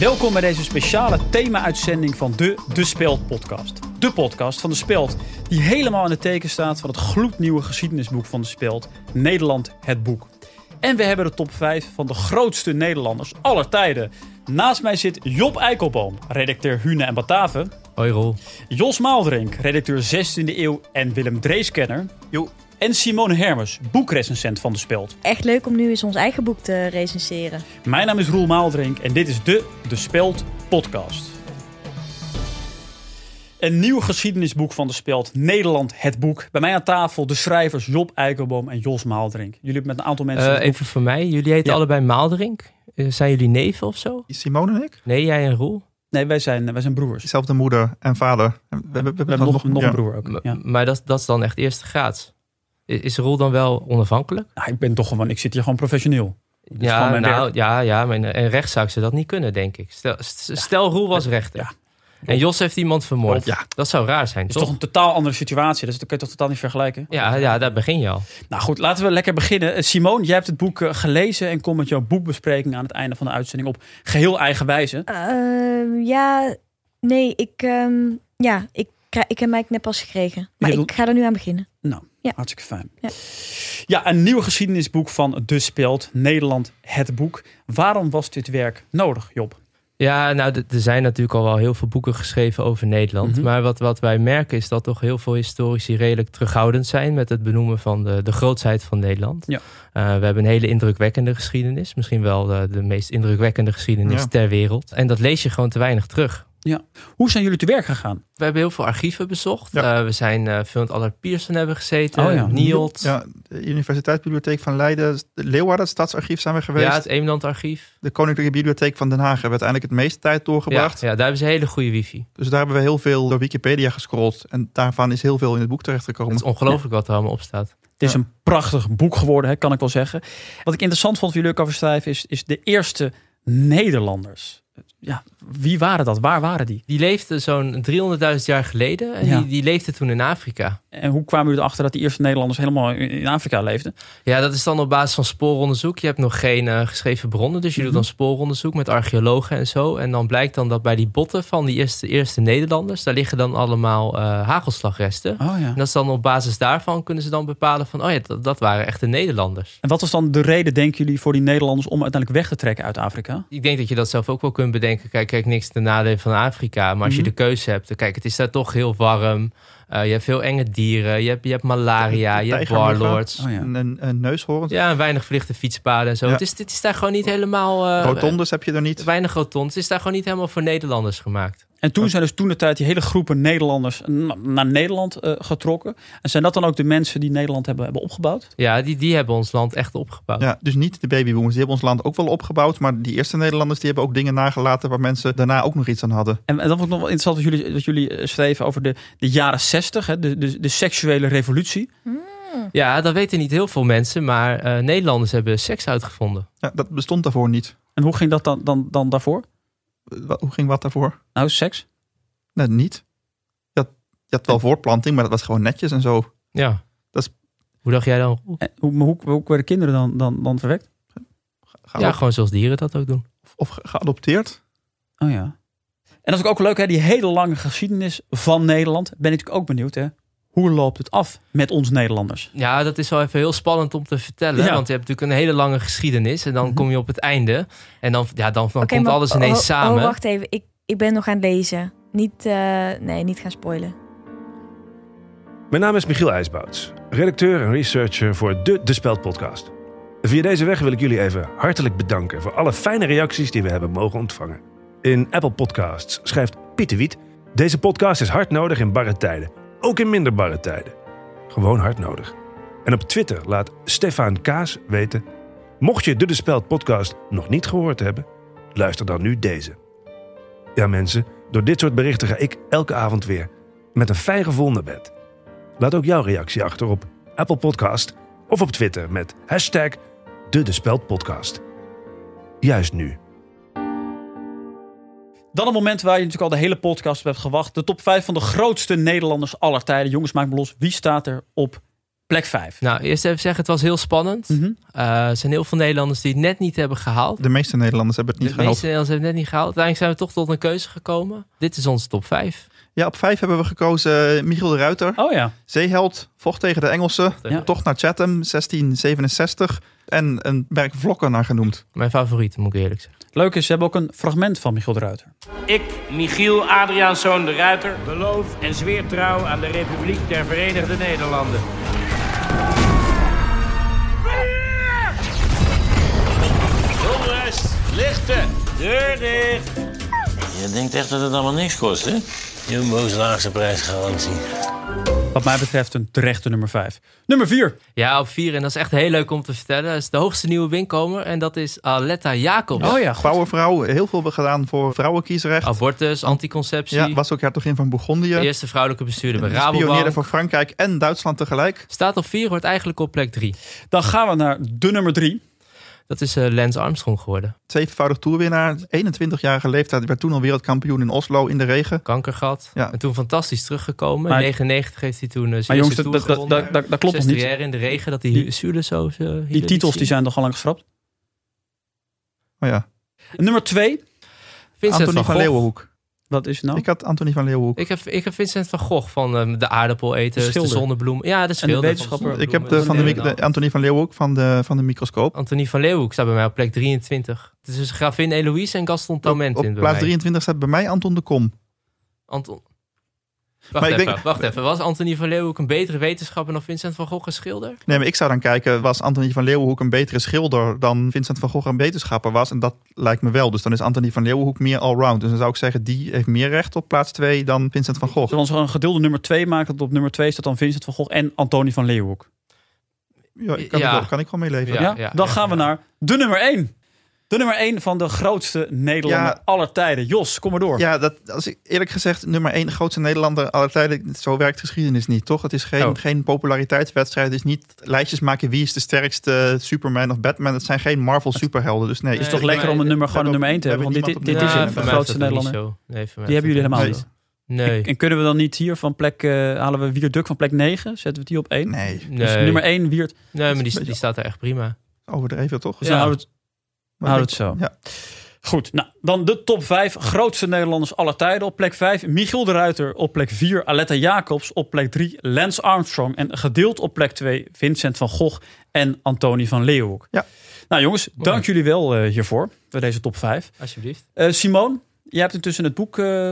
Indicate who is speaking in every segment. Speaker 1: Welkom bij deze speciale thema-uitzending van de De Speld podcast. De podcast van De Speld, die helemaal in het teken staat van het gloednieuwe geschiedenisboek van De Speld, Nederland het boek. En we hebben de top 5 van de grootste Nederlanders aller tijden. Naast mij zit Job Eikelboom, redacteur Hune en Bataven.
Speaker 2: Hoi Rol.
Speaker 1: Jos Maaldrink, redacteur 16e eeuw en Willem Dreeskenner.
Speaker 3: Jo.
Speaker 1: En Simone Hermes, boekrecensent van De Speld.
Speaker 4: Echt leuk om nu eens ons eigen boek te recenseren.
Speaker 1: Mijn naam is Roel Maaldrink en dit is de De Speld podcast. Een nieuw geschiedenisboek van De Speld, Nederland het boek. Bij mij aan tafel de schrijvers Job Eikelboom en Jos Maaldrink. Jullie hebben met een aantal mensen...
Speaker 2: Eh,
Speaker 1: het boek-
Speaker 2: even voor mij. Jullie heten
Speaker 1: Ja.
Speaker 2: allebei Maaldrink. Eh, zijn jullie neven of zo?
Speaker 3: Is Simone en ik?
Speaker 2: Nee, jij en Roel.
Speaker 1: Nee, wij zijn, wij zijn broers.
Speaker 3: Dezelfde moeder en vader. En We, we- we
Speaker 1: We hebben nog, nog
Speaker 3: ja.
Speaker 1: een broer ook.
Speaker 2: M-
Speaker 1: Ja.
Speaker 2: Maar dat, dat is dan echt eerste graads. I- Is Roel dan wel onafhankelijk?
Speaker 1: Nou, ik ben toch gewoon... Ik zit hier gewoon professioneel. is gewoon
Speaker 2: ja,
Speaker 1: mijn
Speaker 2: nou, ja, ja, maar in een recht zou ik ze dat niet kunnen, denk ik. Stel, st- stel Roel was rechter.
Speaker 1: Ja.
Speaker 2: En Jos heeft iemand vermoord.
Speaker 1: Ja.
Speaker 2: Dat zou raar zijn,
Speaker 1: Het is
Speaker 2: toch?
Speaker 1: toch een totaal andere situatie. Dus dat kun je toch totaal niet vergelijken?
Speaker 2: Ja, ja, daar begin je al.
Speaker 1: Nou goed, laten we lekker beginnen. Eh, Simone, jij hebt het boek eh, gelezen en komt met jouw boekbespreking aan het einde van de uitzending op geheel eigen wijze.
Speaker 4: Ehm, ja, nee, ik, ehm, ja, ik, krij- ik heb mij net pas gekregen. Maar
Speaker 1: hebt
Speaker 4: ik ga er nu aan beginnen.
Speaker 1: Hartstikke fijn. Ja.
Speaker 4: Ja.
Speaker 1: een nieuw geschiedenisboek van De Speld, Nederland, het boek. Waarom was dit werk nodig, Job?
Speaker 2: Ja, nou, d- er zijn natuurlijk al wel heel veel boeken geschreven over Nederland.
Speaker 1: Mhm.
Speaker 2: Maar wat, wat wij merken is dat toch heel veel historici redelijk terughoudend zijn met het benoemen van de, de grootsheid van Nederland.
Speaker 1: Ja.
Speaker 2: Eh, we hebben een hele indrukwekkende geschiedenis. Misschien wel de, de meest indrukwekkende geschiedenis
Speaker 3: Ja.
Speaker 2: ter wereld. En dat lees je gewoon te weinig terug.
Speaker 1: Hoe zijn jullie te werk gegaan?
Speaker 2: We hebben heel veel archieven bezocht.
Speaker 3: Ja.
Speaker 2: Eh, we zijn eh, veel in het Allard Pierson hebben gezeten.
Speaker 1: Oh ja.
Speaker 2: Nielt. Ja.
Speaker 3: Ja, de Universiteitsbibliotheek van Leiden, de Leeuwarden, het Stadsarchief zijn we geweest.
Speaker 2: het Eemlandarchief.
Speaker 3: De Koninklijke Bibliotheek van Den Haag hebben we uiteindelijk het meeste tijd
Speaker 2: Ja,
Speaker 3: doorgebracht.
Speaker 2: ja, daar hebben ze hele goede wifi.
Speaker 3: Dus daar hebben we heel veel door Wikipedia gescrolld. En daarvan is heel veel in het boek
Speaker 2: Het
Speaker 3: terechtgekomen.
Speaker 2: is ongelooflijk wat er allemaal op staat.
Speaker 1: Het is
Speaker 3: Ja.
Speaker 1: een prachtig boek geworden, hè, kan ik wel zeggen. Wat ik interessant vond, wie leuk over schrijven, is, is de eerste Nederlanders. Ja, wie waren dat? Waar waren die?
Speaker 2: Die leefde zo'n 300.000 jaar geleden. En
Speaker 1: Ja.
Speaker 2: die, die leefde toen in Afrika.
Speaker 1: En hoe kwamen jullie erachter dat die eerste Nederlanders helemaal in- in Afrika leefden?
Speaker 2: Ja, dat is dan op basis van spooronderzoek. Je hebt nog geen eh, geschreven bronnen, dus je
Speaker 1: Mhm.
Speaker 2: doet dan spooronderzoek met archeologen en zo. En dan blijkt dan dat bij die botten van die eerste, eerste Nederlanders, daar liggen dan allemaal eh, hagelslagresten.
Speaker 1: Oh ja.
Speaker 2: En dat is dan op basis daarvan kunnen ze dan bepalen van, oh ja, dat, dat waren echte Nederlanders.
Speaker 1: En wat was dan de reden, denken jullie, voor die Nederlanders om uiteindelijk weg te trekken uit Afrika?
Speaker 2: Ik denk dat je dat zelf ook wel kunt bedenken. Kijk, kijk niks ten nadele van Afrika. Maar als je
Speaker 1: Mhm.
Speaker 2: de keuze hebt, dan kijk, het is daar toch heel warm. Eh, je hebt veel enge dieren. Je hebt, je hebt malaria.
Speaker 3: De- de
Speaker 2: Je hebt
Speaker 3: tijgermuggen.
Speaker 2: warlords.
Speaker 1: Oh ja.
Speaker 3: En, en, en neushoorns.
Speaker 2: Ja, en weinig verlichte fietspaden en zo.
Speaker 3: Ja.
Speaker 2: Het, is, het is daar gewoon niet helemaal... eh,
Speaker 3: Rotondes heb je er niet.
Speaker 2: Weinig rotondes. Het is daar gewoon niet helemaal voor Nederlanders gemaakt.
Speaker 1: En toen zijn dus toen de tijd die hele groepen Nederlanders na- naar Nederland eh, getrokken. En zijn dat dan ook de mensen die Nederland hebben, hebben opgebouwd?
Speaker 2: Ja, die, die hebben ons land echt opgebouwd.
Speaker 3: Ja, dus niet de babyboomers. Die hebben ons land ook wel opgebouwd. Maar die eerste Nederlanders die hebben ook dingen nagelaten waar mensen daarna ook nog iets aan hadden.
Speaker 1: En, en dat vond ik nog wel interessant wat jullie, wat jullie eh, schreven over de, de jaren zestig, de, de, de seksuele revolutie.
Speaker 2: Ja, dat weten niet heel veel mensen. Maar eh, Nederlanders hebben seks uitgevonden.
Speaker 3: Ja, dat bestond daarvoor niet.
Speaker 1: En hoe ging dat dan, dan, dan daarvoor?
Speaker 3: Wat- Hoe ging wat daarvoor?
Speaker 1: Nou, seks.
Speaker 3: Nee, niet. Je had, je had wel voortplanting, maar dat was gewoon netjes en zo.
Speaker 2: Ja.
Speaker 3: Dat is-
Speaker 2: Hoe dacht jij dan?
Speaker 1: En Eh, hoe, maar hoe, hoe werden kinderen dan, dan, dan verwekt?
Speaker 3: Ga-
Speaker 2: Ja, gewoon zoals dieren dat ook doen.
Speaker 3: of ge- geadopteerd.
Speaker 1: Oh ja. En dat is ook leuk, hè? die hele lange geschiedenis van Nederland. Ben ik natuurlijk ook benieuwd, hè? Hoe loopt het af met ons Nederlanders?
Speaker 2: Ja, dat is wel even heel spannend om te vertellen.
Speaker 1: Ja.
Speaker 2: Want je hebt natuurlijk een hele lange geschiedenis. En dan kom je op het einde. En dan, ja, dan, dan
Speaker 4: Oké,
Speaker 2: komt
Speaker 4: maar-
Speaker 2: alles ineens
Speaker 4: oh, oh,
Speaker 2: samen.
Speaker 4: wacht even. Ik, ik ben nog aan het lezen. Niet, eh, nee, niet gaan spoilen.
Speaker 5: Mijn naam is Michiel IJsbouts, redacteur en researcher voor de De Speld podcast. Via deze weg wil ik jullie even hartelijk bedanken voor alle fijne reacties die we hebben mogen ontvangen. In Apple Podcasts schrijft Pieter Wiet... Deze podcast is hard nodig in barre tijden, ook in minder barre tijden. Gewoon hard nodig. En op Twitter laat Stefan Kaas weten... Mocht je de De Speld podcast nog niet gehoord hebben, luister dan nu deze. Ja mensen, door dit soort berichten ga ik elke avond weer met een fijn gevoel naar bed. Laat ook jouw reactie achter op Apple Podcast of op Twitter met hashtag de De Speld Podcast. Juist nu.
Speaker 1: Dan een moment waar je natuurlijk al de hele podcast op hebt gewacht. De top 5 van de grootste Nederlanders aller tijden. Jongens, maak me los. Wie staat er op Plek 5.
Speaker 2: Nou, eerst even zeggen, het was heel spannend. Eh, er zijn heel veel Nederlanders die het net niet hebben gehaald.
Speaker 3: De meeste Nederlanders hebben het
Speaker 2: De
Speaker 3: niet
Speaker 2: meeste Nederlanders
Speaker 3: gehaald.
Speaker 2: hebben het net niet gehaald. Uiteindelijk zijn we toch tot een keuze gekomen. Dit is onze top 5.
Speaker 3: Ja, op vijf hebben we gekozen eh, Michiel de Ruiter.
Speaker 1: Oh ja.
Speaker 3: Zeeheld, vocht tegen de Engelsen.
Speaker 1: Ja.
Speaker 3: Tocht naar Chatham, 1667. En een merk Vlokken naar genoemd.
Speaker 2: Mijn favoriet, moet ik eerlijk zeggen.
Speaker 1: Leuk is, ze hebben ook een fragment van Michiel de Ruiter.
Speaker 6: Ik, Michiel Adriaanszoon de Ruiter, beloof en zweer trouw aan de Republiek der Verenigde Nederlanden. Jongens, lichten, deur dicht.
Speaker 7: Je denkt echt dat het allemaal niks kost, hè? Jumbo's laagste prijsgarantie.
Speaker 1: Wat mij betreft een terechte nummer 5. Nummer 4.
Speaker 2: Ja, op 4. En dat is echt heel leuk om te vertellen. is de hoogste nieuwe binnenkomer. En dat is Aletta Jacobs.
Speaker 1: Oh ja.
Speaker 3: Powervrouw, heel veel gedaan voor vrouwenkiesrecht.
Speaker 2: Abortus, anticonceptie.
Speaker 3: Ja, was ook hertogin van Bourgondië.
Speaker 2: De eerste vrouwelijke bestuurder bij
Speaker 3: Spioneerde
Speaker 2: Rabobank.
Speaker 3: voor Frankrijk en Duitsland tegelijk.
Speaker 2: Staat op 4, wordt eigenlijk op plek 3.
Speaker 1: Dan gaan we naar de nummer 3.
Speaker 2: Dat is eh Lance Armstrong geworden.
Speaker 3: Tweevoudig toerwinnaar, 21-jarige leeftijd. Werd toen al wereldkampioen in Oslo in de regen.
Speaker 2: Kankergat.
Speaker 3: Ja.
Speaker 2: En toen fantastisch teruggekomen.
Speaker 1: Maar-
Speaker 2: in 99 heeft hij toen eh zijn
Speaker 1: Maar jongens,
Speaker 2: eerste
Speaker 1: dat,
Speaker 2: Tour
Speaker 1: dat, dat,
Speaker 2: gewonnen.
Speaker 1: dat, dat- dat klopt nog niet.
Speaker 2: 60 in de regen, dat
Speaker 1: Die-
Speaker 2: die Zules zo... eh, hier
Speaker 1: Die
Speaker 2: liet
Speaker 1: titels die
Speaker 2: zien.
Speaker 1: zijn toch al lang geschrapt.
Speaker 3: Oh ja,
Speaker 1: Nummer 2.
Speaker 2: Vincent
Speaker 3: Anthony van,
Speaker 2: van, Gogh.
Speaker 3: Leeuwenhoek.
Speaker 1: Wat is het nou?
Speaker 3: Ik had Anthony van Leeuwenhoek.
Speaker 2: Ik heb, ik heb Vincent van Gogh van ehm, de aardappeleters,
Speaker 1: De
Speaker 2: de,
Speaker 1: schilder.
Speaker 2: zonnebloem. Ja, de schilder. van
Speaker 1: wetenschapper.
Speaker 2: zonnebloem.
Speaker 3: Ik heb de, van de, mic- de- Anthony van Leeuwenhoek van de, van de microscoop.
Speaker 2: Anthony van Leeuwenhoek staat bij mij op plek 23. Het is dus gravin Eloïse en Gaston Taument
Speaker 3: Op
Speaker 2: in bij
Speaker 3: plaats
Speaker 2: mij.
Speaker 3: 23 staat bij mij Anton de Kom.
Speaker 2: Anton...
Speaker 3: Maar
Speaker 2: Wacht
Speaker 3: ik
Speaker 2: even,
Speaker 3: denk-
Speaker 2: wacht even. Was Anthony van Leeuwenhoek een betere wetenschapper dan Vincent van Gogh een schilder?
Speaker 3: Nee, maar ik zou dan kijken, was Anthony van Leeuwenhoek een betere schilder dan Vincent van Gogh een wetenschapper was? En dat lijkt me wel. Dus dan is Anthony van Leeuwenhoek meer allround. Dus dan zou ik zeggen, die heeft meer recht op plaats 2 dan Vincent van Gogh.
Speaker 1: Zullen we ons gewoon een gedeelde nummer 2 maken? Dat op nummer 2 staat dan Vincent van Gogh en Antonie van Leeuwenhoek.
Speaker 3: Ja, ik kan,
Speaker 2: Ja.
Speaker 3: er wel, kan ik wel meeleven.
Speaker 1: Ja,
Speaker 2: Ja,
Speaker 1: dan
Speaker 2: ja,
Speaker 1: gaan we
Speaker 2: ja.
Speaker 1: naar de nummer 1. De nummer 1 van de grootste Nederlander
Speaker 3: Ja.
Speaker 1: aller tijden. Jos, kom maar door.
Speaker 3: Ja, dat, als ik, eerlijk gezegd, nummer 1 grootste Nederlander aller tijden. Zo werkt geschiedenis niet, toch? Het is geen,
Speaker 1: Oh.
Speaker 3: geen populariteitswedstrijd. Het is niet lijstjes maken wie is de sterkste Superman of Batman. Het zijn geen Marvel superhelden. Dus nee,
Speaker 1: Het is toch
Speaker 3: ik-
Speaker 1: lekker om een nummer gewoon een nummer 1 te hebben. Want
Speaker 3: hebben
Speaker 1: dit, dit,
Speaker 3: niemand
Speaker 1: dit is
Speaker 3: op
Speaker 1: het,
Speaker 3: nummer
Speaker 1: de
Speaker 2: voor
Speaker 3: één.
Speaker 2: mij is
Speaker 1: grootste
Speaker 2: dat niet
Speaker 1: Nederlander.
Speaker 2: zo. Nee, voor mij
Speaker 1: Die
Speaker 2: is
Speaker 1: hebben jullie
Speaker 2: dat
Speaker 1: helemaal
Speaker 2: zo.
Speaker 1: niet.
Speaker 2: Nee.
Speaker 1: En kunnen we dan niet hier van plek, eh, halen we Wierd Duk van plek 9? Zetten we die op 1?
Speaker 3: Nee,
Speaker 2: nee.
Speaker 1: Dus nummer 1 Wierd. Dus
Speaker 2: nee, maar die, die staat er echt prima.
Speaker 3: overdreven toch?
Speaker 1: dan
Speaker 2: Ja.
Speaker 1: houden we het,
Speaker 3: Maar
Speaker 1: houden
Speaker 3: ik-
Speaker 1: we het zo.
Speaker 3: Ja.
Speaker 1: Goed, nou, dan de top 5 grootste Nederlanders aller tijden op plek 5. Michiel de Ruiter op plek 4. Aletta Jacobs op plek 3. Lance Armstrong en gedeeld op plek 2 Vincent van Gogh en Antonie van Leeuwenhoek.
Speaker 3: Ja. Oh.
Speaker 1: Nou jongens,
Speaker 2: Mooi.
Speaker 1: dank jullie wel eh, hiervoor, voor deze top 5.
Speaker 2: Alsjeblieft.
Speaker 1: Eh Simone, jij hebt intussen het boek eh,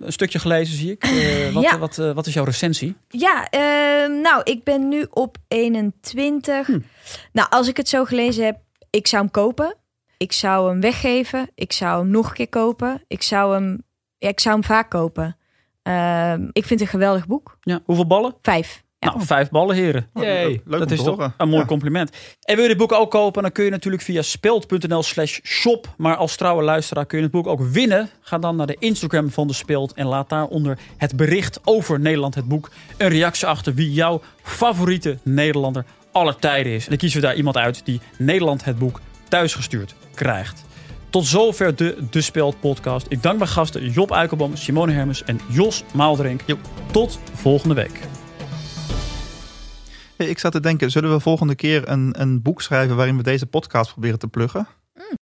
Speaker 1: een stukje gelezen, zie ik. Eh, wat,
Speaker 4: Ja.
Speaker 1: wat, eh, wat is jouw recensie?
Speaker 4: Ja, ehm, nou, ik ben nu op 21.
Speaker 1: Hm.
Speaker 4: Nou, als ik het zo gelezen heb, ik zou hem kopen. Ik zou hem weggeven. Ik zou hem nog een keer kopen. Ik zou hem, ja, ik zou hem vaak kopen. Ehm, ik vind het een geweldig boek.
Speaker 1: Ja. Hoeveel ballen?
Speaker 4: Vijf. Ja.
Speaker 1: Nou, vijf ballen, heren.
Speaker 2: Yay.
Speaker 3: Oh, Leuk
Speaker 1: dat
Speaker 3: om
Speaker 1: is
Speaker 3: te
Speaker 1: toch
Speaker 3: horen.
Speaker 1: een mooi
Speaker 3: Ja.
Speaker 1: compliment. En wil je dit boek ook kopen, dan kun je natuurlijk via speelt.nl slash shop. Maar als trouwe luisteraar kun je het boek ook winnen. Ga dan naar de Instagram van de Speelt en laat daaronder het bericht over Nederland het boek. Een reactie achter wie jouw favoriete Nederlander aller tijden is. En dan kiezen we daar iemand uit die Nederland het boek thuisgestuurd krijgt. Tot zover de De Speld podcast. Ik dank mijn gasten Job Uikelboom, Simone Hermes en Jos Maaldrink.
Speaker 3: Jo.
Speaker 1: Tot volgende week.
Speaker 3: Hey, ik zat te denken, zullen we volgende keer een, een boek schrijven waarin we deze podcast proberen te pluggen?